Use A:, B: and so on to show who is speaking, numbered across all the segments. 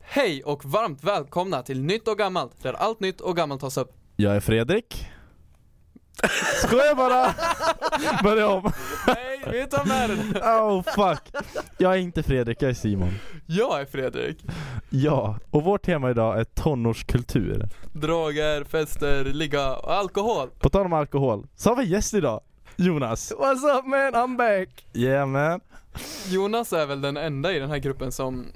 A: Hej och varmt välkomna till Nytt och Gammalt, där allt nytt och gammalt tas upp.
B: Jag är Fredrik. Skojar bara! Börja om.
A: Nej, vi tar med den.
B: Oh fuck. Jag är inte Fredrik, jag är Simon.
A: Jag är Fredrik.
B: Ja, och vårt tema idag är tonårskultur.
A: Droger, fester, ligga och alkohol.
B: På tal om alkohol, så har vi gäst idag. Jonas.
C: What's up man, I'm back!
B: Yeah man.
A: Jonas är väl den enda i den här gruppen som,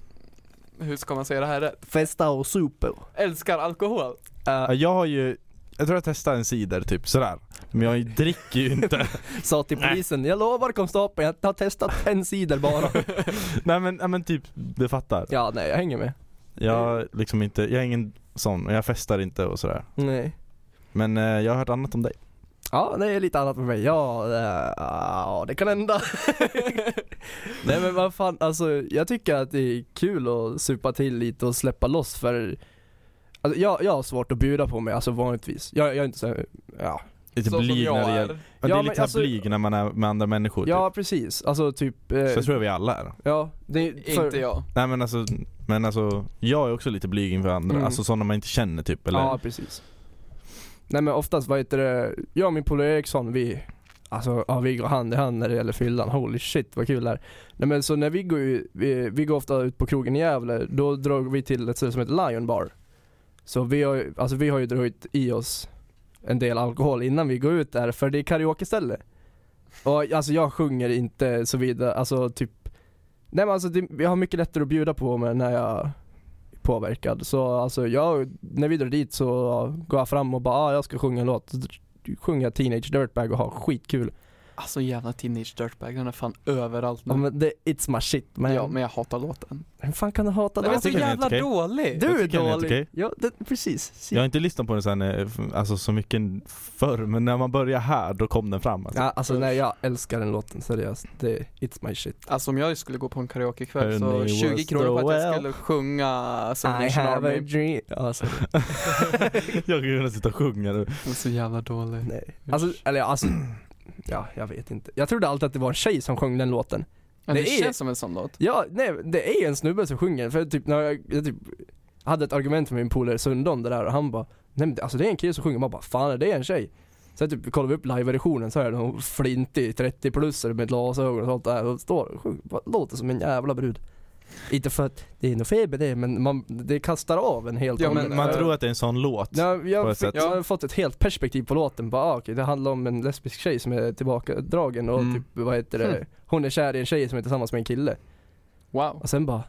A: hur ska man säga det här rätt?
C: Festa och Eh, super.
A: Älskar alkohol.
B: Ja, Jag har ju, jag tror jag testade en cider typ sådär. Men jag dricker ju inte.
C: Sa till polisen, jag lovar konstapeln, jag har testat en cider bara.
B: nej, men, nej men typ, du fattar.
C: ja, nej jag hänger med.
B: Jag liksom inte, jag är ingen sån, och jag festar inte och sådär.
C: Nej.
B: Men eh, jag har hört annat om dig.
C: Ja, det är lite annat med mig. Ja, det, ja, det kan hända. nej men vad fan, alltså jag tycker att det är kul att supa till lite och släppa loss för Alltså jag, jag har svårt att bjuda på mig, alltså vanligtvis. Jag, jag är inte så, ja.
B: Lite
A: så som
B: blyg när
A: jag
B: det
A: är.
B: gäller. Men det
C: Ja,
B: är
C: men
B: lite så här
C: alltså-
B: blyg när man är med andra människor
C: Ja precis, alltså typ, eh,
B: typ. Så jag tror jag vi alla är.
C: ja. Det, är- för,
A: Inte jag.
B: Nej men alltså, men alltså jag är också lite blyg inför andra,
C: Mm.
B: alltså sådana man inte känner typ eller
C: Ja, precis. Nej men oftast, vad heter det, jag och min polare Eriksson, vi Alltså ja, vi går hand i hand när det gäller fyllan, holy shit vad kul det är. Nej men så när vi går, ju- vi, vi går ofta ut på krogen i Gävle, då drar vi till ett ställe som heter Lion Bar. Så vi har, ju- alltså, vi har ju dragit i oss en del alkohol innan vi går ut där, för det är karaokeställe. Och alltså jag sjunger inte så vidare, alltså typ Nej men alltså det, jag har mycket lättare att bjuda på mig när jag påverkad. Så alltså jag, när vi drar dit så går jag fram och bara ah, jag ska sjunga en låt. Så Sjunga Teenage Dirtbag och ha skitkul.
A: Alltså jävla teenage dirtbag, den är fan överallt nu.
C: Ja, men det, it's my shit man.
A: Ja, men jag hatar låten.
C: Hur fan kan du hata
A: Den
C: det?
A: är så
B: tycker den är
A: jävla
B: helt okej.
A: dålig.
C: Du
B: Jag
C: är
B: tycker den är helt
C: dålig.
B: okej.
C: Ja, det, precis.
B: Jag har inte lyssnat på den sen, eh, f- alltså så mycket förr, men när man börjar här då kom den fram alltså.
C: Ja, alltså nej jag älskar den låten seriöst. Det, it's my shit.
A: Alltså om jag skulle gå på en karaokekväll
B: Her
A: så
B: name
A: 20
B: was
A: kronor på att jag
B: Noel.
A: skulle sjunga Someone
C: I
A: Should Harm
C: have a
A: Me.
C: dream. Alltså,
B: jag kan ju nästan sitta och sjunga nu.
A: Den är så jävla dålig.
C: nej. Alltså, eller alltså, ja jag vet inte. Jag trodde alltid att det var en tjej som sjöng den låten.
A: Men
C: Det
A: det,
C: är-
A: känns som en sån låt.
C: Ja, nej det är en snubbe som sjunger, för typ när jag, jag typ hade ett argument med min polare Sundon det där och han bara Nej men det- alltså det är en kille som sjunger, man bara fan är det en tjej? Sen typ kollar vi upp live-versionen så är det någon flintig 30-plussare med glasögon och sånt där och står och sjunger, bara låter som en jävla brud Inte för att det är något fel med det men man, det kastar av en helt
A: Ja,
C: och
A: men-
C: hållet.
B: Man
A: eh,
B: tror att det är en sån låt.
C: jag, jag,
B: på ett
C: fick,
B: sätt.
C: jag har fått ett helt perspektiv på låten, bara ah, okej det handlar om en lesbisk tjej som är tillbakadragen och
B: Mm.
C: typ vad heter det,
A: Hmm.
C: hon är kär i en tjej som är tillsammans med en kille
A: Wow.
C: och sen bara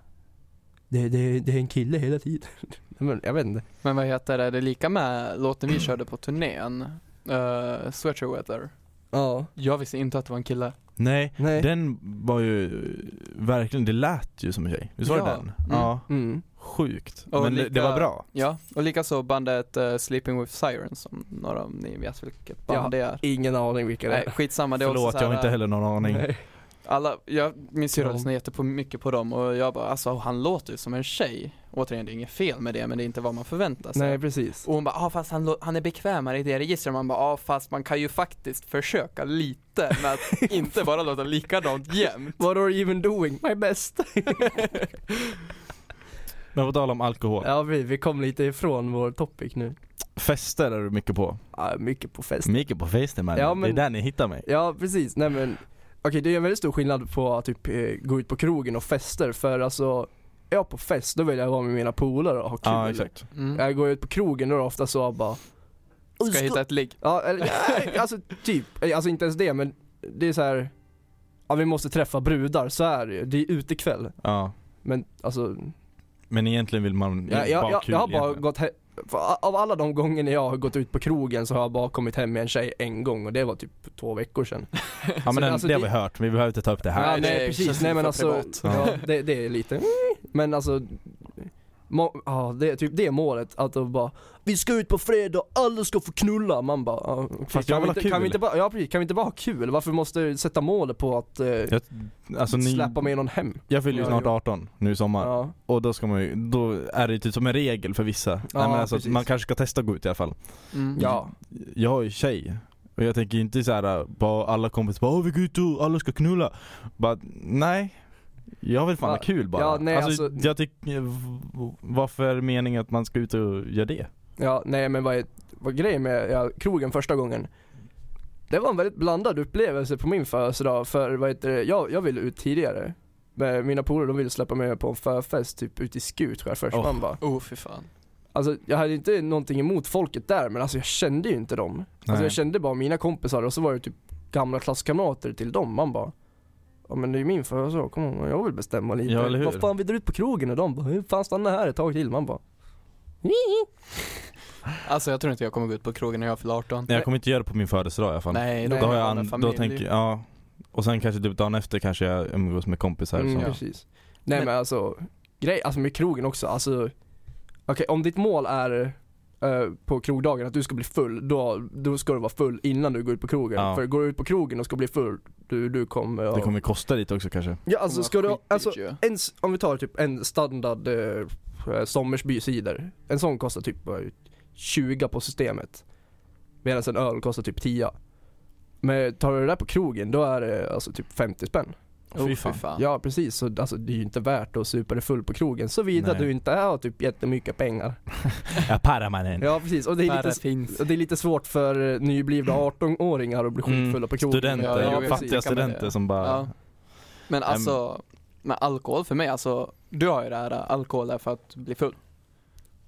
C: Det, det, det är en kille hela tiden. Nej, Men jag vet inte.
A: Men vad heter det, det är lika med låten vi körde på turnén, uh, Sweater Weather.
C: Ja.
A: Jag visste inte att det var en kille.
B: Nej,
C: Nej.
B: den var ju eh, verkligen, det lät ju som en tjej. Visst var det
A: Ja.
B: den?
A: Mm.
B: Ja.
C: Mm.
B: Sjukt.
A: Och
B: men det,
A: lika-
B: det var bra.
A: Ja, och likaså bandet eh, Sleeping With Sirens, som några av ni vet vilket band
C: Ja,
A: det är.
C: Ingen aning vilka det
A: Nej,
C: är.
A: skitsamma, det är
B: Förlåt,
A: också så
B: jag har
A: här,
B: inte heller någon aning.
C: eh, Nej.
A: alla, jag, min syrra
C: Ja.
A: lyssnar jättemycket på dem och jag bara, alltså han låter ju som en tjej. Återigen, det är inget fel med det, men det är inte vad man förväntar sig.
C: Nej precis.
A: Och hon bara, ah, fast han, lå- han är bekvämare i det registret. Man bara, ah, fast man kan ju faktiskt försöka lite med att inte bara låta likadant jämt.
C: What are you even doing? My best.
B: Men på tal om alkohol.
C: ja vi, vi kom lite ifrån vår topic nu.
B: Fester är du mycket på.
C: Ja, mycket på fest.
B: Mycket på fester man.
C: Ja, men-
B: Det är där ni hittar mig.
C: Ja precis, nej men Okej det är en väldigt stor skillnad på att typ eh, gå ut på krogen och fester för alltså Är jag på fest då vill jag vara med mina polare och ha kul.
B: Ja exakt.
A: Mm.
C: Jag går ut på krogen då är det ofta så bara
A: Ska jag hitta ett ligg?
C: Ja, eller, nej, alltså typ, alltså inte ens det men det är så här. Ja vi måste träffa brudar, så är det ju. Det är utekväll.
B: Ja.
C: Men alltså,
B: Men egentligen vill man
C: jag, jag,
B: bara
C: jag,
B: kul
C: jag har bara
B: egentligen.
C: gått he- för a- av alla de gångerna jag har gått ut på krogen så har jag bara kommit hem med en tjej en gång och det var typ två veckor sedan.
B: Ja men
C: Så
B: den,
C: alltså
B: det har
C: det-
B: vi hört, vi behöver inte ta upp det här.
C: ja,
A: det
C: nej
A: är
C: precis,
A: precis
C: nej men
A: för
C: alltså,
A: privat.
C: ja, det, det är lite, men alltså må, ja, det är typ det målet, att de bara Vi ska ut på fredag, alla ska få knulla, man bara ja, okej,
B: Fast jag
C: kan, vi
B: vill ha
C: inte, kan
B: kul.
C: vi inte bara, ja precis, kan vi inte bara ha kul? Varför måste du sätta målet på att eh,
B: Jag, alltså, ni,
C: släppa med någon hem?
B: jag fyller ju
C: Ja,
B: snart
C: jo.
B: 18 nu i sommar,
C: Ja,
B: och då ska man ju, då är det ju typ som en regel för vissa. Nej, men alltså, att
C: precis.
B: man kanske ska testa att gå ut i alla fall.
A: Mm.
C: ja,
B: Jag har ju tjej, och jag tänker ju inte såhär på alla kompisar bara "Åh, vi går ut och alla ska knulla. Bara, nej. Jag vill fan
C: Ja,
B: ha kul bara.
C: ja, nej,
B: alltså,
C: alltså-
B: jag tycker, varför är det meningen att man ska ut och göra det?
C: Ja, nej men vad, är, vad grejen med ja, krogen första gången Det var en väldigt blandad upplevelse på min födelsedag för vad heter det, jag, jag ville ut tidigare men mina polare de ville släppa mig på en förfest typ ute i Skutskär först
B: Åh.
C: man bara
A: Oh fy fan.
C: Alltså jag hade inte någonting emot folket där men alltså jag kände ju inte dem Alltså jag kände bara mina kompisar och så var det typ gamla klasskamrater till dem man bara Ja men det är ju min födelsedag, kom ihåg, jag vill bestämma lite
B: Ja, eller hur?
C: Vad fan vi drar ut på krogen och de bara, hur fan stanna här ett tag till? Man bara
A: Alltså jag tror inte jag kommer gå ut på krogen när jag fyller 18.
B: Nej, jag kommer inte göra det på min födelsedag i alla fall.
A: Nej,
C: Då
B: då, har
A: kommer
B: jag
A: ha
B: an-
A: en
B: då
A: familj.
B: tänker ja. Och sen kanske typ dagen efter kanske jag umgås med kompisar
C: Mm,
B: som,
C: precis. Nej men,
A: Men-
C: alltså, grej, alltså med krogen också, alltså Okej om ditt mål är eh, på krogdagen att du ska bli full, då, då ska du vara full innan du går ut på krogen.
B: Ja.
C: För går du ut på krogen och ska bli full, du, du kommer,
B: Det kommer kosta lite också kanske.
C: Ja alltså
A: Kommer
C: ska du,
A: vara
C: alltså
A: skitdyrt ju.
C: en, s- om vi tar typ en standard eh, Sommersby cider, en sån kostar typ vad, 20 på systemet. Medan en öl kostar typ 10. Men tar du det där på krogen, då är det alltså typ 50 spänn.
A: Oh, fy fan.
C: Ja precis, så alltså, det är ju inte värt att supa dig full på krogen såvida
B: Nej.
C: du inte har typ jättemycket pengar.
B: Ja, permanent.
C: Ja precis, och det är lite,
A: finns.
C: och det är lite svårt för eh, nyblivna 18-åringar att bli
B: Mm.
C: skitfulla på krogen.
B: Studenter,
A: Ja,
C: precis.
B: fattiga
A: kan man
B: studenter
A: det.
B: som bara
A: Ja. Men alltså, med alkohol för mig, alltså, du har ju det här, alkohol är för att bli full.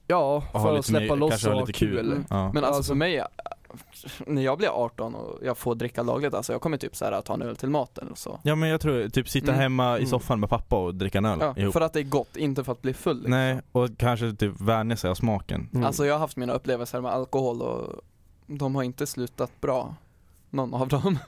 C: Ja,
B: ha
C: för att
B: lite mer-
C: släppa loss
B: kanske ha
C: och ha
B: lite
C: kul.
B: kul.
A: Mm.
B: Ja.
A: Men alltså,
C: Alltså-
A: för mig, äh, när jag blir 18 och jag får dricka lagligt, alltså jag kommer typ så här att ta en öl till maten eller så.
B: ja men jag tror typ sitta
A: Mm.
B: hemma i
A: Mm.
B: soffan med pappa och dricka en öl
A: Ja,
B: ihop.
A: för att det är gott, inte för att bli full. Liksom.
B: Nej, och kanske typ vänja sig av smaken.
C: Mm.
A: Alltså jag har haft mina upplevelser med alkohol och de har inte slutat bra. Någon av dem.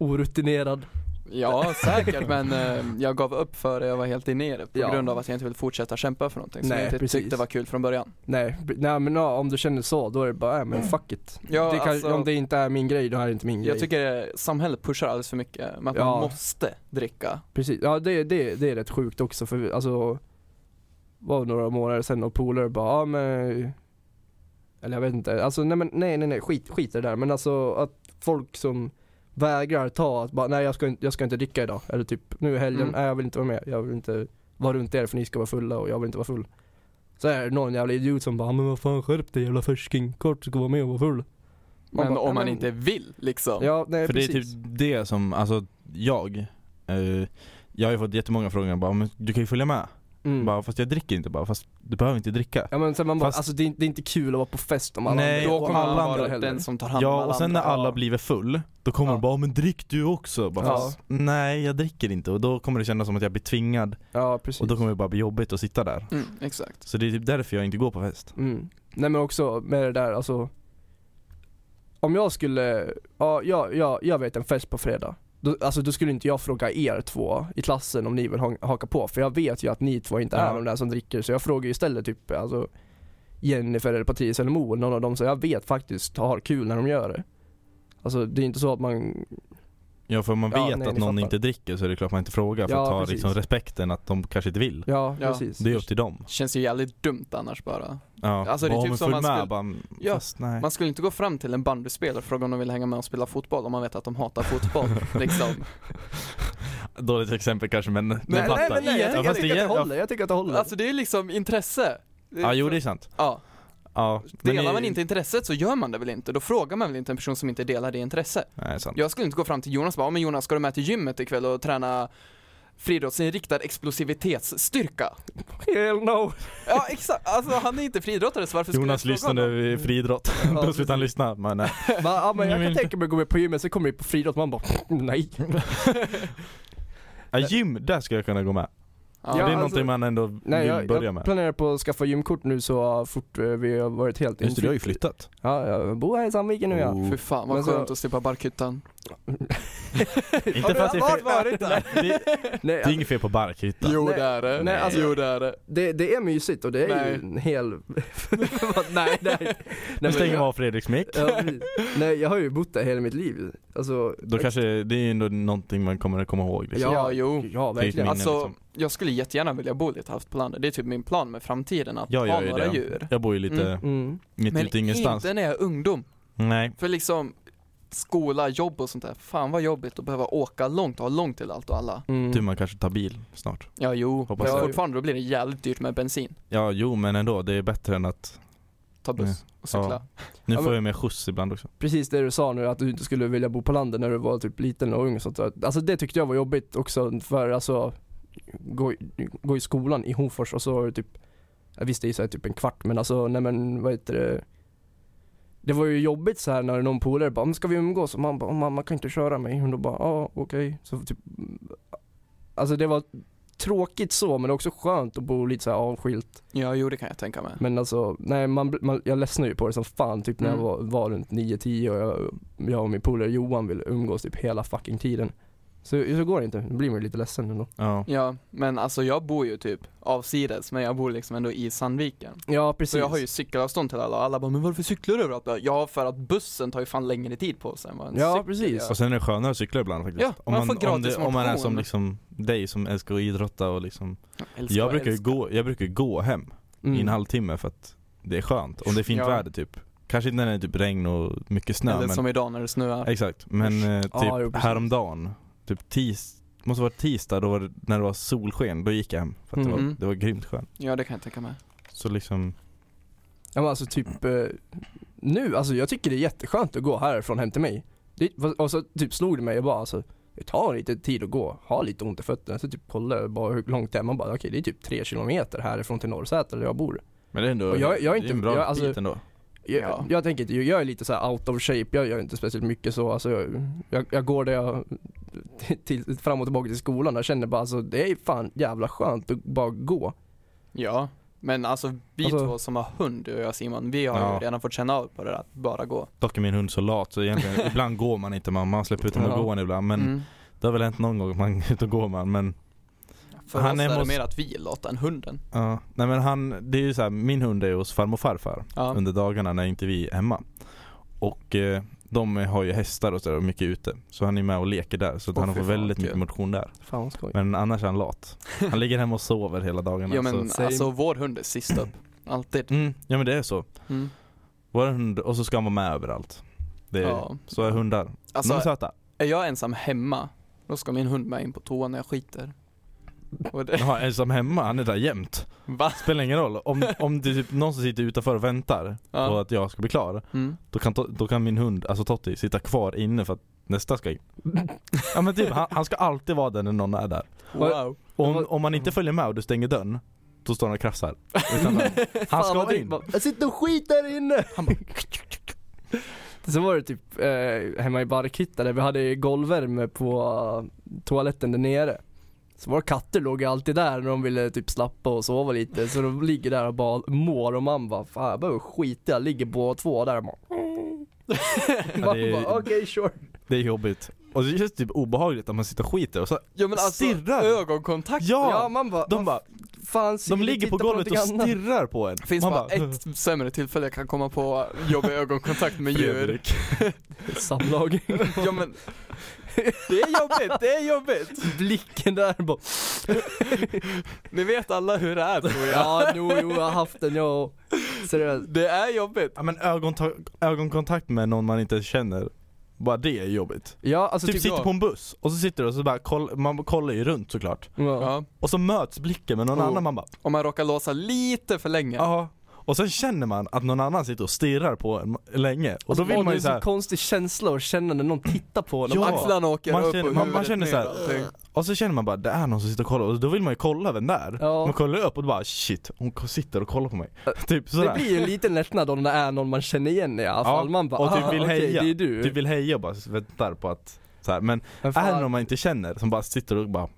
C: Orutinerad.
A: Ja, säkert men eh, jag gav upp för det, jag var helt inne i det på
C: Ja.
A: grund av att jag inte ville fortsätta kämpa för någonting som
C: Nej,
A: jag inte
C: precis.
A: tyckte var kul från början.
C: Nej, b- nej men ja, om du känner så, då är det bara, äh, men fuck it.
A: Mm. Ja,
C: det kan,
A: alltså-
C: om det inte är min grej, då är det inte min grej.
A: Jag tycker eh, samhället pushar alldeles för mycket med att
C: Ja.
A: man måste dricka.
C: Precis, ja det, det, det är rätt sjukt också för vi- alltså var några månader sedan och polare bara, ja men Eller jag vet inte, alltså nej men nej nej nej skit, skit i det där men alltså att folk som vägrar ta att bara, nej jag ska, inte- jag ska inte dricka idag eller typ nu i helgen,
A: Mm.
C: nej jag vill inte vara med, jag vill inte vara runt er för ni ska vara fulla och jag vill inte vara full så är det någon jävla idiot som bara, men vad fan skärp dig jävla färsking, klart du ska vara med och vara full
A: Men
C: bara,
A: om man
C: "Nej, men-
A: inte vill liksom.
C: Ja, nej
B: För
C: precis.
B: det är typ det som, alltså jag, eh, jag har ju fått jättemånga frågor bara, men du kan ju följa med.
C: mm.
B: Bara, fast jag dricker inte bara, fast du behöver inte dricka.
C: Ja men sen man bara,
B: Fast-
C: alltså det är, det är inte kul att vara på fest om alla
B: Nej,
C: andra-
A: Då
C: och
A: kommer
C: alla
A: man
C: andra
A: vara
C: heller.
A: den som tar hand om
B: ja och
A: alla
B: sen när
A: andra.
B: alla
A: Ja.
B: blivit full, då kommer
A: Ja.
B: de bara men drick du också! Bara,
C: Ja.
B: fast, Nej jag dricker inte och då kommer det kännas som att jag blir tvingad
C: Ja precis.
B: och då kommer det bara bli jobbigt att sitta där.
A: Mm, exakt.
B: Så det är typ därför jag inte går på fest.
C: mm. Nej men också med det där alltså. Om jag skulle, ja jag, jag, jag vet en fest på fredag. Då, alltså då skulle inte jag fråga er två i klassen om ni vill ha- haka på för jag vet ju att ni två inte är
B: Ja.
C: de där som dricker så jag frågar ju istället typ alltså Jennifer eller Patrice eller Mo eller någon av dem så jag vet faktiskt har kul när de gör det. Alltså det är inte så att man,
B: Ja för om man
C: Ja,
B: vet
C: nej,
B: att
C: ni
B: någon
C: fattar.
B: inte dricker så är det klart man inte frågar för
C: Ja,
B: att ta
C: precis.
B: liksom, respekten att de kanske inte vill.
C: ja,
A: Ja.
C: precis.
B: Det är upp till dem.
A: Känns ju jävligt dumt annars bara.
B: Ja.
A: Alltså, det är
B: Bara,
A: typ
B: men
A: som man
B: följ med,
A: skulle-
B: bara,
A: Ja.
B: fast nej.
A: Man skulle inte gå fram till en bandyspelare och fråga om de vill hänga med och spela fotboll om man vet att de hatar fotboll. liksom.
B: Dåligt exempel kanske men ni
A: Nej,
B: fattar.
C: nej men nej,
A: Ja,
C: jag, tycker-
B: fast
C: jag tycker
B: igen-
C: att det håller, jag tycker att det håller.
A: Alltså det är liksom intresse.
B: Ja jo det är sant.
A: Ja,
B: Ja. men
A: delar
B: ni-
A: man inte intresset så gör man det väl inte. Då frågar man väl inte en person som inte delar det intresse.
B: Nej sant.
A: Jag skulle inte gå fram till Jonas och bara, "Ja, men Jonas ska du med till gymmet ikväll och träna friidrottsinriktad explosivitetsstyrka?
C: Hell no.
A: Ja exakt, alltså han är inte friidrottare så varför skulle
B: Jonas
A: jag fråga
B: lyssnade
A: honom?
B: vid friidrott,
C: Ja,
B: då slutade han lyssna. Men, nej.
C: Va? Ja, men jag kan
B: Men-
C: tänka mig att gå med på gymmet, sen kommer vi på friidrott man bara "Mm, nej.
B: ja, gym, där skulle jag kunna gå med.
A: Ja,
B: det är
C: alltså-
B: någonting man ändå vill
C: nej jag,
B: börja
C: jag
B: med.
C: planerar på att skaffa gymkort nu så fort eh, vi har varit helt
B: Just det, du har ju
C: inflytt-
B: flyttat.
C: Ja, jag bor här i Sandviken nu ja.
B: Oh.
A: Fy fan
C: Men
A: vad
C: så-
A: skönt att slippa barkhyttan.
B: Inte för att det är fel.
A: varit där?
B: Det,
C: Nej, alltså,
B: det är inget fel på Barkhyttan.
A: Jo
C: Nej.
A: det är det.
C: Nej, alltså-
A: jo det är det.
C: det, det är mysigt och det är ju
A: Nej.
C: en hel... Vad- nej, nej.
B: Nu
C: nej,
B: stänger
C: men,
B: man av Fredriks mick.
C: ja, precis. nej, jag har ju bott där hela mitt liv. Alltså,
B: Då kanske, det är ju ändå någonting man kommer att komma ihåg. Liksom.
A: Ja, jo.
C: Ja, verkligen.
B: minne,
A: alltså,
B: liksom.
A: jag skulle jättegärna vilja bo lite halvt på landet. Det är typ min plan med framtiden, att
B: Jag gör
A: ha
B: ju
A: några
B: det.
A: djur.
B: Jag bor ju lite
A: Mm.
C: Mm.
B: mitt
A: Men Mm.
B: ute i ingenstans.
A: inte när jag är ungdom.
B: Nej.
A: För liksom, skola, jobb och sånt där. Fan vad jobbigt att behöva åka långt och ha långt till allt och alla.
C: Mm.
B: Tur man kanske tar bil snart.
A: Ja, jo.
B: Hoppas
A: men
C: det.
A: fortfarande då blir det jävligt dyrt med bensin.
B: Ja, jo men ändå, det är bättre än att
A: Ta buss och cykla.
B: Nu
C: Ja,
B: får
C: men-
B: jag med skjuts ibland också.
C: Precis det du sa nu att du inte skulle vilja bo på landet när du var typ liten och ung och sånt där. Alltså det tyckte jag var jobbigt också för alltså gå, i- gå i skolan i Hofors och så var det typ jag visste ju såhär typ en kvart men alltså nej men vad heter det Det var ju jobbigt så här när någon polare bara "Men ska vi umgås? Och man bara "Åh, mamma kan inte köra mig och då bara ja okej så typ Alltså det var tråkigt så men också skönt att bo lite så här avskilt
A: Ja, jo det kan jag tänka mig.
C: men alltså, nej man, bl- man, jag ledsnar ju på det som fan typ när
A: Mm.
C: jag var, var runt 9-10 och jag, jag och min polare Johan ville umgås typ hela fucking tiden. Så, så går det inte, då blir man ju lite ledsen ändå.
B: Ja.
A: Ja, men alltså jag bor ju typ avsides, men jag bor liksom ändå i Sandviken.
C: Ja precis.
A: Så jag har ju cykelavstånd till alla och alla bara, men varför cyklar du överallt? då?" Ja, för att bussen tar ju fan längre tid på sig än vad en
C: Ja,
A: cykel
C: precis.
A: gör.
B: Och sen är det skönare att cykla ibland faktiskt.
A: Ja, man får
B: om,
A: gratis
B: om man är
A: motion.
B: som liksom dig som älskar att idrotta och liksom
A: älskar,
B: Jag brukar ju
A: älskar.
B: gå, jag brukar ju gå hem
C: Mm.
B: i en halvtimme för att det är skönt, om det är fint
A: Ja.
B: väder typ Kanske inte när det är typ regn och mycket snö
A: Eller
B: men,
A: som idag när det snöar.
B: Exakt, men eh, typ
C: Ja, jo, precis.
B: häromdagen, typ tis, måste vara tisdag då var det, när det var solsken, då gick jag hem för att det, var,
A: Mm.
B: det var grymt skönt
A: Ja, det kan jag tänka mig.
B: Så liksom,
C: Ja men alltså typ eh, nu, alltså jag tycker det är jätteskönt att gå härifrån hem till mig. Det, och så typ slog det mig, jag bara alltså det tar lite tid att gå, har lite ont i fötterna. Så typ kollade jag bara hur långt det är, man bara okej det är typ 3 kilometer härifrån till Norrsäter där jag bor.
B: men det är ändå
C: Och jag- jag är
B: det är
C: inte-
B: en bra
C: jag- alltså-
B: bit ändå
C: Jag,
A: Ja.
C: jag tänker inte, jag är lite så här out of shape, jag gör inte speciellt mycket så. Alltså jag, jag, jag går där jag, till, fram och tillbaka till skolan och känner bara alltså det är fan jävla skönt att bara gå.
A: Ja, men alltså vi
C: Alltså-
A: två som har hund, du och jag Simon, vi har
B: Ja.
A: ju redan fått känna av på det där att bara gå.
B: Dock är min hund så lat så egentligen, ibland går man inte man, man släpper ut honom
C: Ja.
B: och går ibland men
A: Mm.
B: Det har väl hänt någon gång att man då går man men
A: För
B: Han
A: oss
B: är
A: är det
B: måste-
A: mer att vi är lata än hunden.
B: ja. Nej men han, det är ju så här, min hund är ju hos farmor och farfar
A: Ja.
B: under dagarna när inte vi är hemma. Och eh, de har ju hästar och sådär och mycket ute. Så han är med och leker där. Så att
A: Åh,
B: han
A: fy
B: får
A: fan,
B: väldigt
A: kul.
B: mycket motion där.
C: Fan vad skoj.
B: Men annars är han lat. Han ligger hemma och sover hela dagarna.
A: Jo men
B: så.
A: alltså vår hund är sist upp, alltid.
B: Mm, ja men det är så.
A: Mm.
B: Vår hund, och så ska han vara med överallt. Det är,
A: Ja.
B: Så är hundar. De är
A: Alltså
B: söta.
A: är jag ensam hemma, då ska min hund med in på toan när jag skiter. Och det,
B: Jaha, ensam hemma, han är där jämt.
A: va?
B: Spelar ingen roll. Om, om det är typ någon som sitter utanför och väntar på
A: Ja.
B: att jag ska bli klar.
A: Mm.
B: Då kan, to- då kan min hund, alltså Totti, sitta kvar inne för att nästa ska in. Ja men typ, han, han ska alltid vara där när någon är där.
A: Wow.
B: Och
C: Men
B: Om,
C: vad-
B: om man inte följer med och du stänger dörren, då står han och krafsar. Utan han
C: Fan, vad
B: ska
C: drygt.
B: in.
C: Bara, Jag sitter och skiter här inne!
A: Han bara,
C: Så var det typ eh, hemma i Barkhytta där vi hade golvvärme på eh, toaletten där nere. Så våra katter låg ju alltid där när de ville typ slappa och sova lite. Så de ligger där och bara mår och man bara fan jag behöver skita, jag ligger båda två där och bara,
B: Ja,
C: man
B: det,
C: bara okej
B: är,
C: sure.
B: det är jobbigt. Och det känns typ obehagligt om man sitter och skiter och så,
A: ja men alltså
B: Stirrar.
A: ögonkontakt.
B: Ja,
C: man bara,
B: Ah, de bara,
C: fan
B: de
C: Siri,
B: ligger på
C: titta
B: golvet och
C: någonting annat."
B: stirrar på en.
A: Det finns bara, ett sämre tillfälle jag kan komma på jobbig ögonkontakt med djur.
B: Fredrik.
C: Samlag.
A: Ja men, det är jobbigt, det är jobbigt.
C: Blicken där bara,
A: Ni vet alla hur det är tror jag.
C: ja jo jo jag har haft den jag Seriöst.
A: Det är jobbigt.
B: Ja men ögonta- ögonkontakt med någon man inte känner, bara det är jobbigt.
C: Ja alltså
B: Typ,
C: typ,
B: sitter
A: jag.
B: på en buss och så sitter du och så bara, koll, man kollar ju runt såklart.
C: ja.
A: Ja.
B: Och så möts blicken med någon
A: Oh.
B: annan, man bara
A: Om man råkar låsa lite för länge.
B: Ja, och sen känner man att någon annan sitter och stirrar på en länge och då vill man ju
C: Alltså, Det är
B: såhär,
C: en så konstig känsla att känna när någon tittar på en. Alltså,
B: Ja.
C: Man bara,
A: Axlarna åker
B: Man
A: upp
B: känner-
A: och
B: man- man
A: huvudet
B: känner
A: ner
B: så här,
A: och allting.
B: och så känner man bara det är någon som sitter och kollar och då vill man ju kolla vem det är
C: Ja.
B: Man kollar upp och bara shit, hon k- sitter och kollar på mig
C: Ja,
B: Typ
C: Det
B: sådär,
C: blir ju en liten lättnad om det är någon man känner igen i alla fall.
B: Ja,
C: man bara,
B: och typ
C: "Ah,
B: vill
C: okej,
B: heja."
C: det är du.
B: typ vill heja och bara väntar på att såhär. Men
C: Men fan,
B: är det någon man inte känner som bara sitter och bara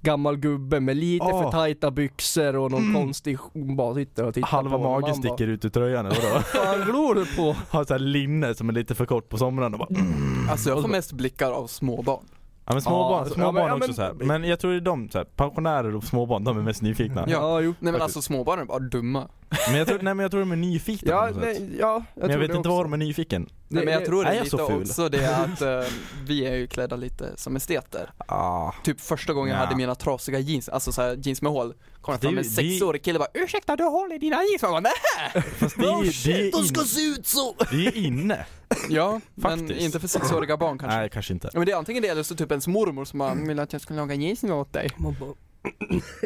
C: Gammal gubbe med lite för
B: Åh. Mm.
C: tajta byxor och någon konstig, hon bara sitter och tittar
B: halva
C: på en. Man
B: magen
C: bara,
B: sticker ut ur tröjan eller vadå?
C: Vad fan glor du på?
B: Har såhär linne som är lite för kort på somrarna och bara mm.
A: Alltså jag får mest blickar av småbarn.
B: Ja men småbarn,
C: Ja,
B: småbarn
C: men- ja,
B: också
C: men-
B: såhär Men jag tror det är de såhär, pensionärer och småbarn, de är mest nyfikna
A: Ja.
C: jo.
A: Nej men
B: Faktiskt.
A: alltså småbarn är bara dumma.
B: Men jag tror, nej men jag tror de är nyfikna på
C: Ja,
B: något sätt.
C: nej, ja, jag
B: Men jag vet
C: tror det
B: inte
C: också.
B: vad de är nyfiken
A: Nej, men jag tror det
B: Är
A: är
B: jag
A: lite
B: så ful?
A: också det att eh, vi är ju klädda lite som esteter.
B: Ah.
A: Typ första gången jag
B: Ja.
A: hade mina trasiga jeans, alltså så här, jeans med hål, kom det
B: Det är
A: fram
B: ju-
A: en
B: det är ju-
A: sexårig kille och bara 'Ursäkta du har hål i dina jeans?' Man bara, Nej.
B: Fast det är, ju- det, är in,
A: se ut så!
B: det är inne.
A: Ja, men
B: Faktiskt.
A: inte för sexåriga barn kanske.
B: Nej, kanske inte.
A: Ja, men det är antingen det eller så typ ens mormor som bara 'Vill att jag ska laga jeansen åt dig?'
C: Man bara,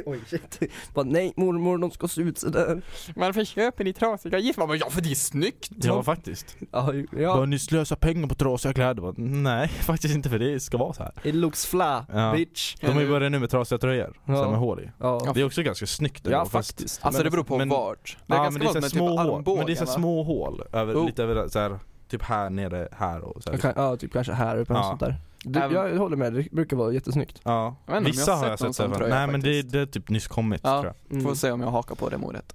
C: oj shit. Bara, nej mormor, de ska se ut sådär.
A: Varför köper ni trasiga jeans? Man bara, ja för det är snyggt!
B: Ja, faktiskt.
C: Ja,
B: Bara,
C: ja.
B: ni slösar pengar på trasiga kläder. Bara, nej, faktiskt inte för det ska vara så här.
C: It looks fla,
B: Ja.
C: bitch.
B: De har ju börjat nu med trasiga tröjor,
C: Ja.
B: så här med hål i.
C: Ja,
B: Det är också ganska snyggt
C: ja
B: ändå, fast-
C: faktiskt.
A: Alltså
B: Men-
A: det beror på
B: men-
A: vart. Det är
B: Ja, men
A: ganska
B: det är
A: gott
B: så här
A: med
B: små
A: typ Oh.
B: hål,
A: armbågen
B: men det är så här
A: va?
B: små hål, över,
A: Jo.
B: lite över, så här, typ här nere, här och så här.
C: Jag kan, ja, typ kanske här uppe eller
B: Ja.
C: sånt där. Du,
A: Även-
C: jag håller med, det brukar vara jättesnyggt.
B: Ja,
A: Jag vet inte om
B: vissa
A: jag har
B: har
A: sett
B: jag
A: någon
B: sett så här,
A: sån
B: men-
A: tröja
B: Nej men det,
A: faktiskt.
B: det är typ nyss kommit
A: Ja.
B: tror jag.
C: Mm.
A: Får se om jag hakar på det mordet.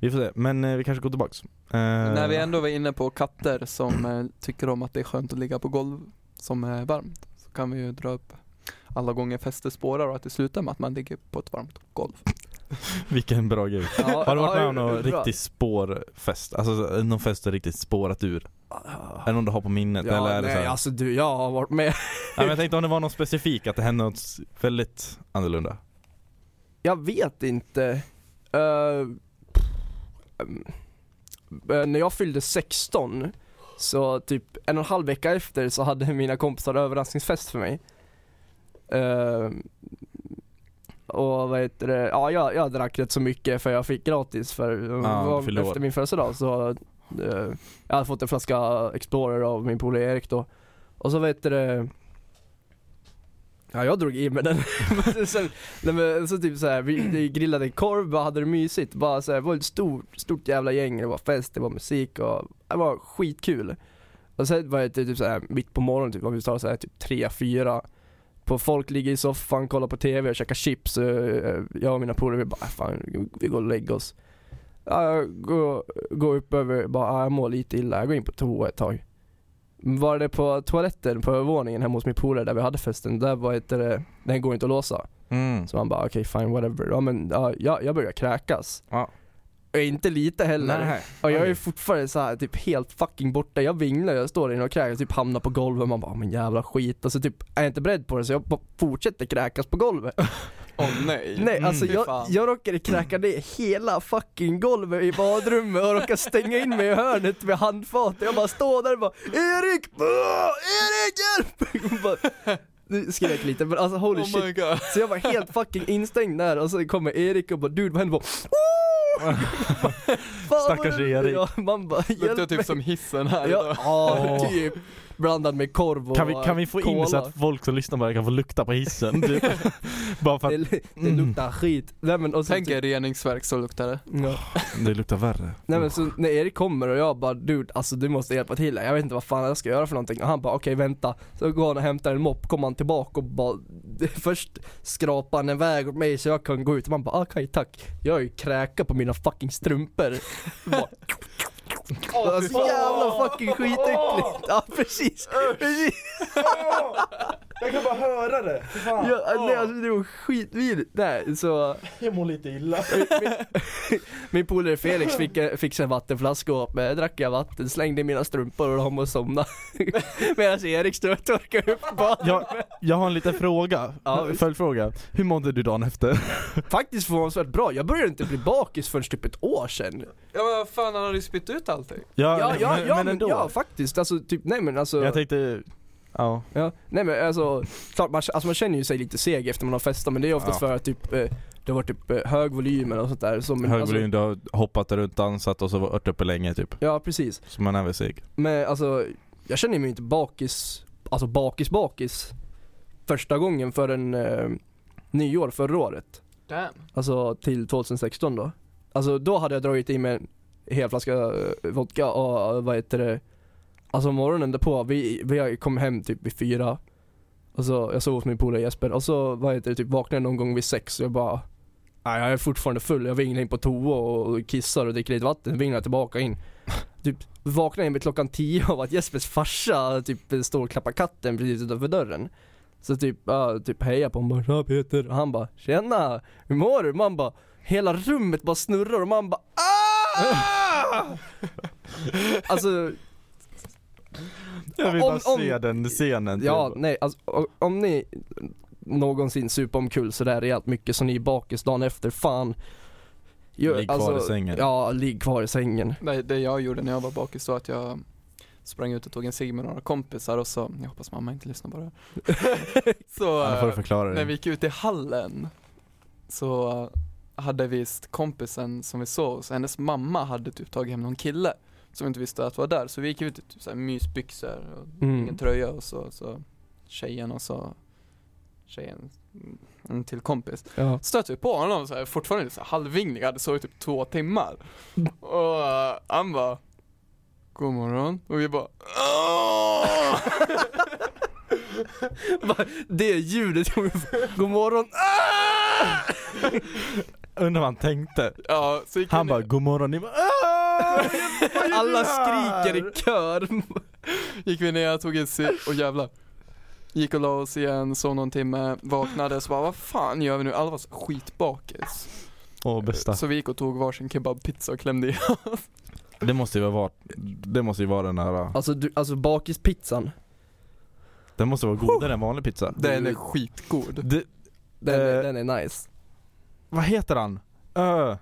B: Vi får se, men eh, vi kanske går tillbaks. Eh,
A: När vi ändå var inne på katter som eh, tycker om att det är skönt att ligga på golv som är varmt, så kan vi ju dra upp alla gånger fäste spårar och att det slutar med att man ligger på ett varmt golv.
B: Vilken bra grej.
C: Ja,
B: Har du varit
C: ja,
B: med om någon
C: bra.
B: riktig spårfest? Alltså så- någon fest där riktigt spårat ur? Är det någon du har på minnet?
C: Ja,
B: eller är det
C: nej
B: så här?
C: alltså du, jag har varit med.
B: Nej, men jag tänkte om det var något specifikt, att det hände något s- väldigt annorlunda.
C: Jag vet inte. Eh, ehm, eh, när jag fyllde 16, så typ en och en halv vecka efter så hade mina kompisar överraskningsfest för mig. Ehm, och vad heter det, ja jag, jag drack rätt så mycket för jag fick gratis för
B: Ja, du
C: var-
B: fyllde år.
C: efter min födelsedag så eh, Jag hade fått en flaska Explorer av min polare Erik då. Och så vet du det Ja jag drog i mig den. Men sen, nej men så typ så här, vi vi grillade korv, bara hade det mysigt. Bara så här, det var ett stort, stort jävla gäng, det var fest, det var musik och det var skitkul. Och sen var det typ så här, mitt på morgonen, typ, om vi tar så här, typ 3-4 på folk ligger i soffan, kollar på TV och käkar chips. Eh, Jag och mina polare vi bara, "Äh, fan vi går och lägger oss. Ja, Jag går, går upp över, bara "Ah, jag mår lite illa, jag går in på toa ett tag. Var det på toaletten på övervåningen hemma hos min polare där vi hade festen, där var inte det, den går inte att låsa.
B: Mm.
C: Så man bara okej fine whatever, ja men ja, jag, jag börjar kräkas.
B: Ja.
C: Och inte lite heller.
B: Nej.
C: Och jag är
B: Okej.
C: fortfarande så här, typ helt fucking borta, jag vinglar, jag står inne och kräks, typ hamnar på golvet, man bara men jävla skit. Och så typ är jag inte beredd på det så jag bara fortsätter kräkas på golvet.
A: Åh nej!
C: Nej alltså
A: Fy
C: jag,
A: Mm, fan.
C: jag råkade kräka ner hela fucking golvet i badrummet och råkade stänga in mig i hörnet med handfatet. Jag bara står där och bara Erik! Åh, Erik hjälp! Och bara, nu skrek lite men alltså holy
A: Oh my
C: shit.
A: god.
C: Så jag var helt fucking instängd där och så kommer Erik och bara dude vad händer? Bara, "Åh!" Fan, vad
B: Stackars
C: det-
B: Erik.
C: Ja, man bara hjälp
A: Luktar
C: mig.
A: typ som hissen här
C: Ja,
A: idag.
C: ja, typ. Blandad med korv och
B: Kan vi, kan vi få in så
C: cola.
B: att folk som lyssnar på det här kan få lukta på hissen? typ? Bara för att
C: Det, det
B: Mm.
C: luktar skit. Nej men och så typ-
A: Tänk er reningsverk så luktar det.
C: ja.
B: det luktar värre.
C: Nej men så när Erik kommer och jag bara dude alltså du måste hjälpa till här. jag vet inte vad fan jag ska göra för någonting och han bara okej vänta Så går han och hämtar en mopp, kommer han tillbaka och bara Först skrapar han en väg åt mig så jag kan gå ut och man bara okej tack Jag är ju kräka på mina fucking strumpor Bara- Alltså jävla fucking skitäckligt! Ja precis! precis.
B: Jag kan bara höra det!
C: Ja, nej, alltså, det var skitvidrigt! Nej så
B: Jag mår lite illa.
C: Min polare Felix fick, eh, fick sig en vattenflaska och med, drack jag vatten, slängde i mina strumpor och la mig och somnade. Medan Erik stod och torkade upp badet.
B: Jag, jag har en liten fråga,
C: Ja, visst.
B: följdfråga. Hur mådde du dagen efter?
C: Faktiskt förvånansvärt bra, jag började inte bli bakis förrän typ ett år sedan.
A: Ja men vad fan, han hade ju spytt ut allting.
B: Ja,
C: Ja, ja, ja, men,
B: ändå.
C: ja faktiskt, alltså typ, nej men alltså.
B: jag tänkte, ja.
C: ja, nej men alltså, klart man, alltså, man känner ju sig lite seg efter man har festat men det är oftast
B: Ja.
C: för att typ eh, det har varit typ eh, hög volym eller sånt där. Så, men,
B: Hög
C: alltså,
B: volym, du har hoppat runt, dansat och så varit uppe länge typ.
C: Ja precis.
B: Så man är väl seg.
C: Men alltså, jag känner mig inte bakis, alltså bakis bakis första gången förrän eh, nyår förra året.
A: Damn.
C: Alltså till 2016 då. Alltså då hade jag dragit i mig en hel flaska eh, vodka och eh, vad heter det, alltså morgonen därpå, vi, vi kom hem typ vid fyra. Och så, jag sov hos min polare Jesper och så vad heter det, typ vaknade jag någon gång vid sex och jag bara Nej jag är fortfarande full, jag vinglar in på toa och kissar och dricker lite vatten, vinglar tillbaka in. Typ vaknade jag vid klockan tio av att Jespers farsa typ står och klappar katten precis utanför dörren. Så typ, ja, typ hejar på honom bara "Tja, Peter och han bara Tjena, hur mår du? Man bara Hela rummet bara "Ah!" snurrar och man bara "Ah!" Alltså
B: Jag vill
C: Om-
B: bara se
C: om-
B: den scenen.
C: Ja,
B: typ.
C: nej alltså, o- om ni någonsin super omkull sådär rejält mycket så ni är bakis dagen efter, fan. Gör-
B: Ligg
C: alltså,
B: kvar i sängen.
C: Ja, ligg kvar i sängen.
A: Nej, det jag gjorde när jag var bakis var att jag sprang ut och tog en cigg med några kompisar och så, jag hoppas mamma inte lyssnar på det här. Så
B: Ja, då får du
A: eh,
B: förklara
A: när vi
B: det.
A: gick ut i hallen så eh, hade visst kompisen som vi såg hos, hennes mamma hade typ tagit hem någon kille som inte visste att var där. Så vi gick ut i typ så här mysbyxor och
C: Mm.
A: ingen tröja och så, så tjejen och så tjejen, mm, en till kompis
C: Ja.
A: stötte vi på honom så här, fortfarande så här halvvinglig, hade sovit typ två timmar. Och eh, han bara God morgon. Och vi bara "Åh!"
C: Det ljudet kommer God morgon. Ah!
B: Undrar vad han tänkte.
A: Ja, så gick
B: Han
A: vi ner.
B: bara 'God morgon' ni bara "Ah, vad gör
C: Alla
B: du här?"
C: skriker i kör.
A: Gick vi ner, tog en cigg och jävlar. Gick och la oss igen, sov någon timme, vaknade så bara vad fan gör vi nu? Alla var så skitbakis.
B: Åh bästa.
A: Så vi gick och tog varsin kebabpizza och klämde i.
B: Det måste ju vara varit, det måste ju vara den här,
C: Alltså, du, alltså bakispizzan.
B: den måste vara godare än vanlig pizza.
A: Den är skitgod.
B: Det,
C: Den, är-
B: Eh.
C: den är nice.
B: vad heter han? Ö.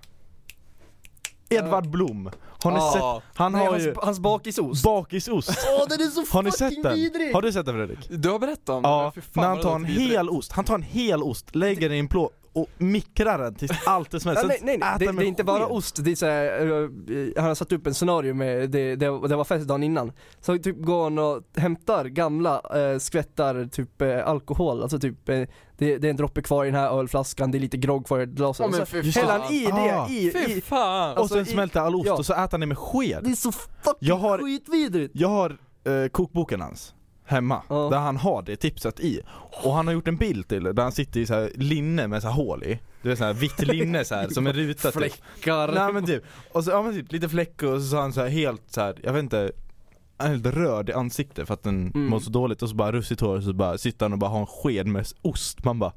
B: Edvard Blom. Har ni sett? Han
C: Ah. Nej,
B: har
C: hans,
B: ju
C: hans bakisost.
B: bakisost.
C: Åh den är så
B: Har ni sett den?
C: vidrig!
B: Har du sett den Fredrik?
A: Du har berättat om
B: Ja,
A: Fy fan,
B: när han
A: vad
B: tar
A: det
B: en
A: låter vidrigt.
B: hel ost, han tar en hel ost, lägger den i en plå och mikrar den tills allt är smält.
C: Ja, nej, nej, nej.
B: äter
C: Det,
B: den
C: det
B: med
C: är inte bara
B: sked.
C: ost, det är så här, eh, han har satt upp en scenario med, det, det, det var fest dagen innan. Så typ går han och hämtar gamla eh, skvättar typ eh, alkohol, alltså typ eh, det, det är en droppe kvar i den här ölflaskan, det är lite grogg kvar i glaset.
A: Ja, men
C: Och
A: fy
C: så häller
A: fan.
C: han i det,
B: Ah.
C: i,
A: Fy
C: i,
A: fan.
B: och sen
C: alltså, i-
B: smälter all ost
C: ja.
B: och så äter han den med sked.
C: det är så fucking
B: Jag har-
C: skitvidrigt!
B: Jag har eh, kokboken hans hemma,
C: Ja.
B: där han har det tipset i. Och han har gjort en bild till det, där han sitter i så här linne med så här hål i. Du vet så här vitt linne så här, som är rutat typ.
C: Fläckar.
B: Nej men typ, och så, ja, men typ lite fläckar och så har han så här helt så här, jag vet inte han är helt röd i ansiktet för att den
C: Mm.
B: mår så dåligt och så bara russigt hår och så bara sitter han och bara har en sked med ost. Man bara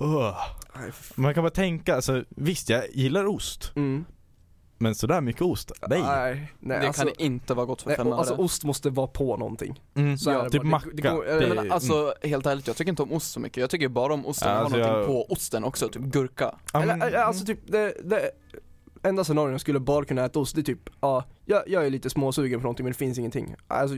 B: Ugh.
C: Nej,
B: Man kan bara tänka, alltså, visst jag gillar ost,
C: Mm.
B: men sådär mycket ost, nej.
C: Nej, nej,
A: det
C: alltså,
A: kan inte vara gott för
C: nej,
A: fem
C: alltså
A: öre.
C: ost måste vara på någonting.
B: Mm.
C: Så är det
B: typ
C: bara. Det-
B: macka.
C: det går-
B: det- mm.
A: Men alltså helt ärligt, jag tycker inte om ost så mycket. Jag tycker bara om osten
B: Ja,
A: har
B: alltså,
A: någonting
B: jag-
A: på osten också, typ gurka.
B: Ja, men-
C: Eller, eh, alltså typ, det, det enda scenarion jag skulle bara kunna äta ost, det är typ, ja, jag, jag är lite småsugen på någonting men det finns ingenting. Alltså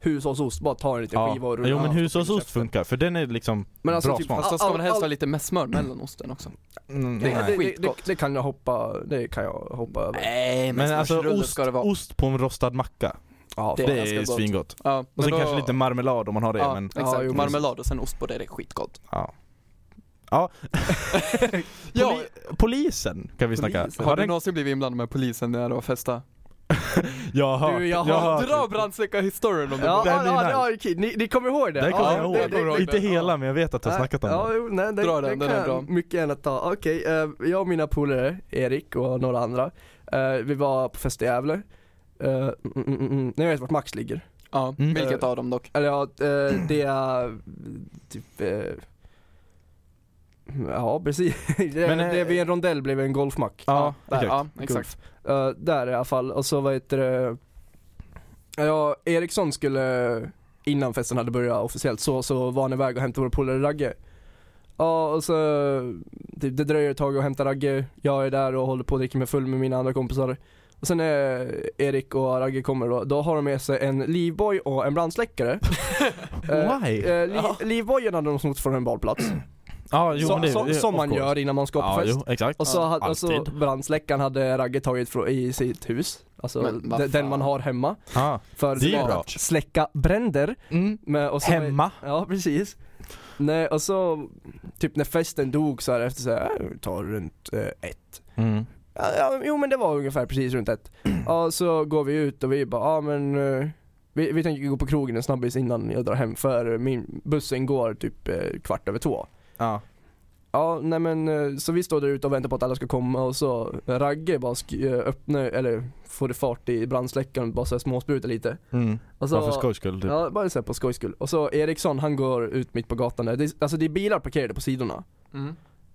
C: hushållsost, bara ta en liten
B: ja.
C: skiva och rulla.
B: Jo men
C: och stoppa in i
B: hushållsost
C: käften.
B: funkar, för den är liksom
C: Men alltså
B: bra
C: typ-
B: smak.
A: Fast då ska
C: All-
A: man helst
C: all-
A: ha lite mässmör mellan osten också.
B: Mm,
A: det är
B: nej.
C: det, det, det,
A: skitgott.
C: det kan jag hoppa, det kan jag hoppa över.
A: Nej,
B: Men alltså
A: mässmörsrulle
B: ost,
A: ska det vara.
B: ost på en rostad macka,
C: Ja,
A: det
B: det,
A: är ganska
B: är
A: gott.
B: svingott.
A: Ja,
B: Och
A: men
B: sen
A: då-
B: kanske lite marmelad om man har det
A: ja,
B: men
A: exakt.
C: Ja, jo, precis.
A: Marmelad och sen ost på det, det är skitgott.
B: ja. Ja,
A: Ja,
B: Poli- polisen kan vi snacka.
C: Polisen.
A: har
B: Har
A: du
B: den...
A: någonsin blivit inblandad med polisen när du var festa?
B: Jag har hört,
C: Du, jag
B: jag
C: har-
B: har hört.
A: Dra brandsläckarhistorien om det
C: Ja,
A: går.
C: ja,
B: Den är
C: ja,
B: nice.
C: ja, okej, ni, ni kommer ihåg det?
B: Den kommer
C: ja,
B: jag ihåg.
C: det- Äh,
A: Jag kommer ihåg
B: Inte
A: den,
B: hela
A: ja.
B: men jag vet att jag har snackat om
C: ja,
B: det.
C: jo, nej, den,
A: Dra
C: den,
A: den, den
C: kan
A: är
C: jag
A: bra.
C: mycket gärna ta. Okej, eh, jag och mina polare, Erik och några andra, eh, vi var på fest i Gävle. Eh, mm, mm, mm, mm. Ni vet vart Max ligger?
A: Ja,
B: Mm.
A: vilket av dem dock?
C: Eller ja, eh, det är typ eh, Ja precis, det,
B: Men,
C: Men,
B: eh,
C: det vid en rondell blev en golfmack.
B: Ja,
A: där,
B: exakt.
A: ja exakt.
C: Eh, där i alla fall, och så vad heter det Ja, Eriksson skulle, innan festen hade börjat officiellt så, så var han iväg och hämtade vår polare Ragge. Ja och så, typ, det dröjer ett tag att hämta Ragge, jag är där och håller på att dricka mig full med mina andra kompisar. Och sen när Erik och Ragge kommer då, då har de med sig en livboj och en brandsläckare. Eh,
B: Why?
C: Eh, li,
A: Ja.
C: Livbojen hade de snott från en badplats.
B: Ja, jo,
C: så,
B: men det,
C: så,
B: det-
C: som
B: of
C: man
B: course.
C: gör innan man ska på
B: Ja,
C: fest.
B: jo, exakt.
C: Och så,
A: Ja,
C: hade- och så
B: alltid.
C: brandsläckaren hade Ragge tagit från, i sitt hus. Alltså
A: Men vad
C: de- den
A: fan.
C: man har hemma.
B: Ja.
C: För
B: Det är ju
C: att
B: bra.
C: släcka bränder.
B: Mm.
C: Med, och så,
B: Hemma.
C: Ja precis. Nej, och så, typ när festen dog så här efter så här, äh, tar runt eh, ett.
B: Mm.
C: Ja, ja, jo men det var ungefär precis runt ett. Ja, så går vi ut och vi bara, ja men eh, vi, vi tänker gå på krogen en snabbis innan jag drar hem för min bussen går typ eh, kvart över två.
B: Ja.
C: Ja, nej men eh, så vi står där ute och väntar på att alla ska komma och så Ragge bara sk- eh, öppnar, eller får det fart i brandsläckaren bara så här småsprutar lite.
B: Mm.
C: Och så,
B: Bara för skojs skull typ.
C: Alltså, Ja, bara så här på
A: Mm.
C: skojs skull. Och så Eriksson han går ut mitt på gatan där, det, är- alltså det är bilar parkerade på sidorna.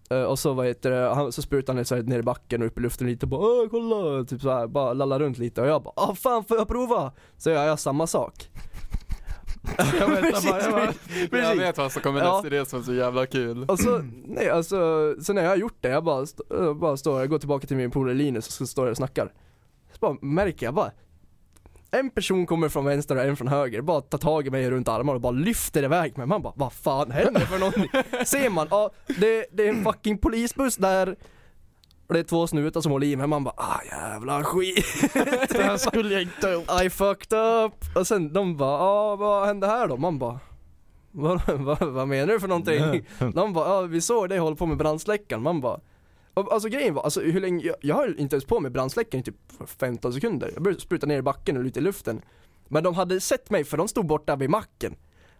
C: Eh, Och så vad heter det, han, så sprutar han lite så här ner i backen och upp i luften lite och bara Åh, kolla, typ så här, bara lallar runt lite och jag bara ah fan får jag prova? Så gör jag samma sak.
A: Jag väntar bara, jag bara,
C: Precis.
A: jag vet vad som kommer
C: Ja.
A: nästa, det är som är så jävla kul.
C: Och så, nej alltså, så när jag har gjort det, jag bara, st- jag bara står, jag går tillbaka till min polare Linus och så står jag och snackar. Så bara märker jag bara, en person kommer från vänster och en från höger, bara tar tag i mig runt armarna och bara lyfter iväg mig. Man bara, vad fan händer för någonting? Ser man, ja det, det är en fucking polisbuss där. Och det är två snutar som håller i mig, man bara ah jävla skit.
B: Det här skulle jag inte ha gjort.
C: I fucked up! Och sen de bara, ah, vad hände här då? Man bara, vad, vad, vad menar du för någonting? De bara, ah, vi såg dig hålla på med brandsläckaren. Man bara, och, alltså grejen var, alltså, hur länge, jag, jag höll inte ens på med brandsläckaren i typ 15 sekunder. Jag började spruta ner i backen och lite i luften. Men de hade sett mig för de stod borta vid macken.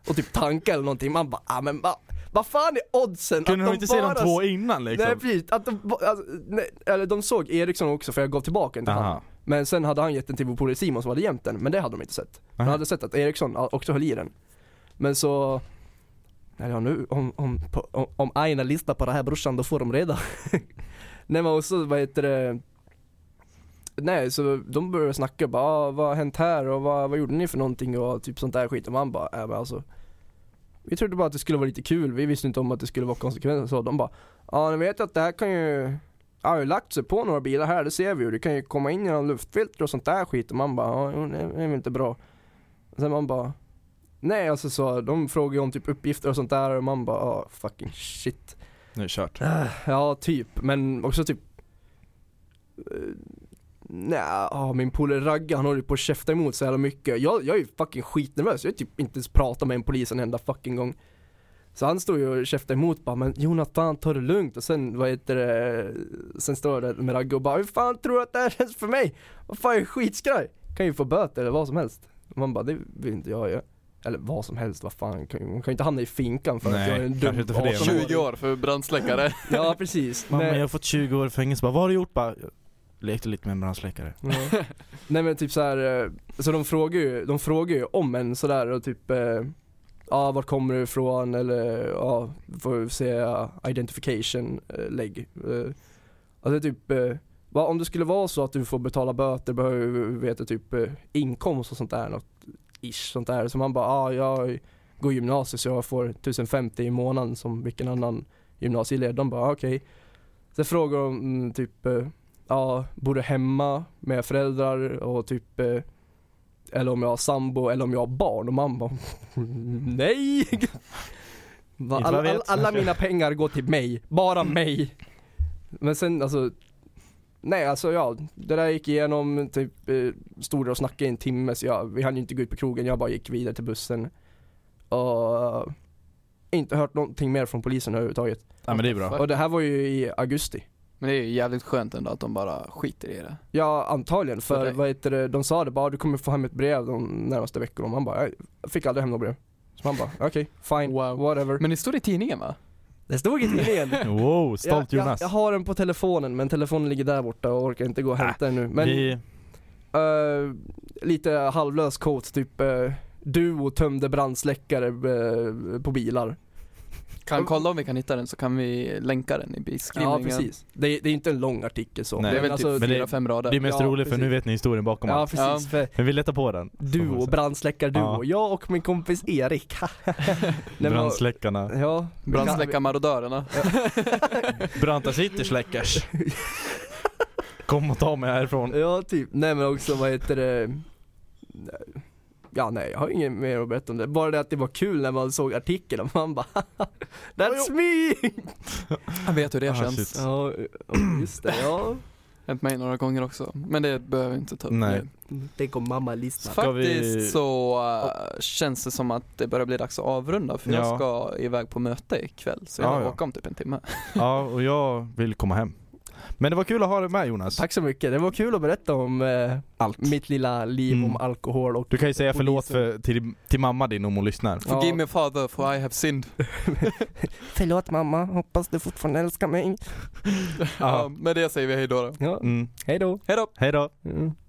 C: Och typ tankade eller någonting. Man bara, ah, men vad vad fan är oddsen
B: Kunde de
C: de
B: inte se de
C: bara-
B: två innan liksom?
C: Nej precis, att de, ba- alltså, nej, eller de såg Eriksson också för jag gav tillbaka den till han.
B: Aha.
C: Men sen hade han gett den till vår polare Simon som hade gömt den, men det hade de inte sett. De
B: Nej.
C: hade sett att Eriksson också höll i den. Men så, eller ja nu, om, om, på- om, om Aina lyssnar på det här brorsan då får de reda. Nej men och så vad heter det, nej så de började snacka bara, ah, vad har hänt här och vad, vad gjorde ni för någonting och typ sånt där skit och man bara, äh, men alltså vi trodde bara att det skulle vara lite kul, vi visste inte om att det skulle vara konsekvenser så. De bara, ja ni vet att det här kan ju Ja, jag har ju lagt sig på några bilar här, det ser vi ju. Det kan ju komma in genom luftfilter och sånt där skit. Och man bara, ja, jo, det är väl inte bra. Och sen man bara, nej alltså så, de frågar ju om typ uppgifter och sånt där och man bara, ja fucking shit.
B: Nu är det kört.
C: Ja, typ, men också typ eh, Nej, ja, min polare Ragge han håller ju på att käfta emot så jävla mycket. Jag, jag är ju fucking skitnervös, jag har typ inte ens pratat med en polis en enda fucking gång. Så han står ju och käftar emot bara, men Jonathan ta det lugnt och sen vad heter det, sen står jag där med Ragge och bara, hur fan tror du att det här känns för mig? Vad fan jag är skitskraj? Kan ju få böter eller vad som helst. Man bara, det vill inte jag göra. Eller vad som helst, vad fan, kan- man kan ju inte hamna i finkan för
B: Nej,
C: att jag är en dum
B: kanske inte för det, men-
C: 18-åring.
A: 20 år för brandsläckare.
C: Ja precis.
B: Mamma
C: Nej.
B: jag har fått 20 år i fängelse, bara, vad har du gjort? Bara, jag lekte lite med en brandsläckare.
C: Ja. Nej men typ så här, eh, så de frågar ju, de frågar ju om en sådär och typ eh, Ja, vart kommer du ifrån eller ja, får vi säga identification eh, lägg. Eh, Alltså typ, eh, va, om det skulle vara så att du får betala böter behöver vi veta typ eh, inkomst och sånt där, något ish sånt där. Så man bara, ja jag går gymnasiet så jag får 1050 i månaden som vilken annan gymnasieelev. De bara, "Ah, okej. Sen frågar de mm, typ, eh, ja, bor du hemma med föräldrar och typ eh, eller om jag har sambo eller om jag har barn och man bara nej! Va,
B: Inte vad jag
C: alla, alla,
B: vet. Mm.
C: alla mina pengar går till mig, bara mig. Men sen alltså Nej alltså ja, det där gick igenom, typ eh, stod där och snackade i en timme så jag, vi hann ju inte gå ut på krogen, jag bara gick vidare till bussen. Och eh, inte hört någonting mer från polisen överhuvudtaget.
B: Ja men det är bra.
C: Och det här var ju i augusti.
A: Men det är ju jävligt skönt ändå att de bara skiter i det.
C: Ja antagligen,
A: För
C: för,
A: dig.
C: vad heter det, de sa det bara du kommer få hem ett brev de närmaste veckorna och man bara jag fick aldrig hem något brev. Så man bara okej, fine,
A: Wow.
C: whatever.
A: Men det står i tidningen va?
C: Det stod i tidningen.
B: Wow,
C: jag,
B: stolt
C: jag,
B: Jonas.
C: jag har den på telefonen men telefonen ligger där borta och orkar inte gå och hämta den nu. Men
B: Vi,
C: eh, lite halvlös quote typ eh, Duo tömde brandsläckare eh, på bilar.
A: Kan kolla om vi kan hitta den så kan vi länka den i beskrivningen.
C: Ja precis. Det, är- det är inte en lång artikel så.
B: Nej.
A: Det är väl
C: Men alltså,
A: typ
B: men det-
A: fyra, fem
B: det är
A: rader.
B: mest
C: Ja,
B: roligt för nu
C: precis.
B: vet ni historien bakom
C: Ja
B: allt.
C: precis. För
B: Men vi letar på den.
C: duo, brandsläckarduo. Jag och min kompis Erik. Nej, men-
B: Brandsläckarna.
C: Ja.
A: Brandsläckarmarodörerna.
B: Branta city släckers. Kom och ta mig härifrån.
C: Ja, typ. Nej men också vad heter det? Nej. Ja nej, jag har inget mer att berätta om det. Bara det att det var kul när man såg artikeln och man bara That's me!
A: Jag vet hur det
B: Ah,
A: känns.
B: shit.
C: Ja, just det. Ja.
A: Hänt mig några gånger också. Men det behöver vi inte ta upp
B: Nej.
A: nu.
C: Tänk om mamma
A: Så
C: lyssnar.
B: Ska vi-
A: Faktiskt så äh, känns det som att det börjar bli dags att avrunda för
B: Ja.
A: jag ska iväg på möte ikväll så jag
B: Ja,
A: lär
B: ja.
A: åka om typ en timme.
B: Ja, och jag vill komma hem. Men det var kul att ha dig med Jonas.
C: Tack så mycket. Det var kul att berätta om eh,
B: Allt.
C: mitt lilla liv
B: Mm.
C: om alkohol och
B: Du kan ju säga förlåt
C: Polisen.
B: för, till, till mamma din om hon lyssnar.
C: Ja.
A: Forgive me father for I have sinned.
C: Förlåt mamma, hoppas du fortfarande älskar mig.
A: Ja. Med det säger vi hejdå då.
C: Ja,
B: Mm.
C: hej då.
A: Hejdå!
B: Hej då.
C: Mm.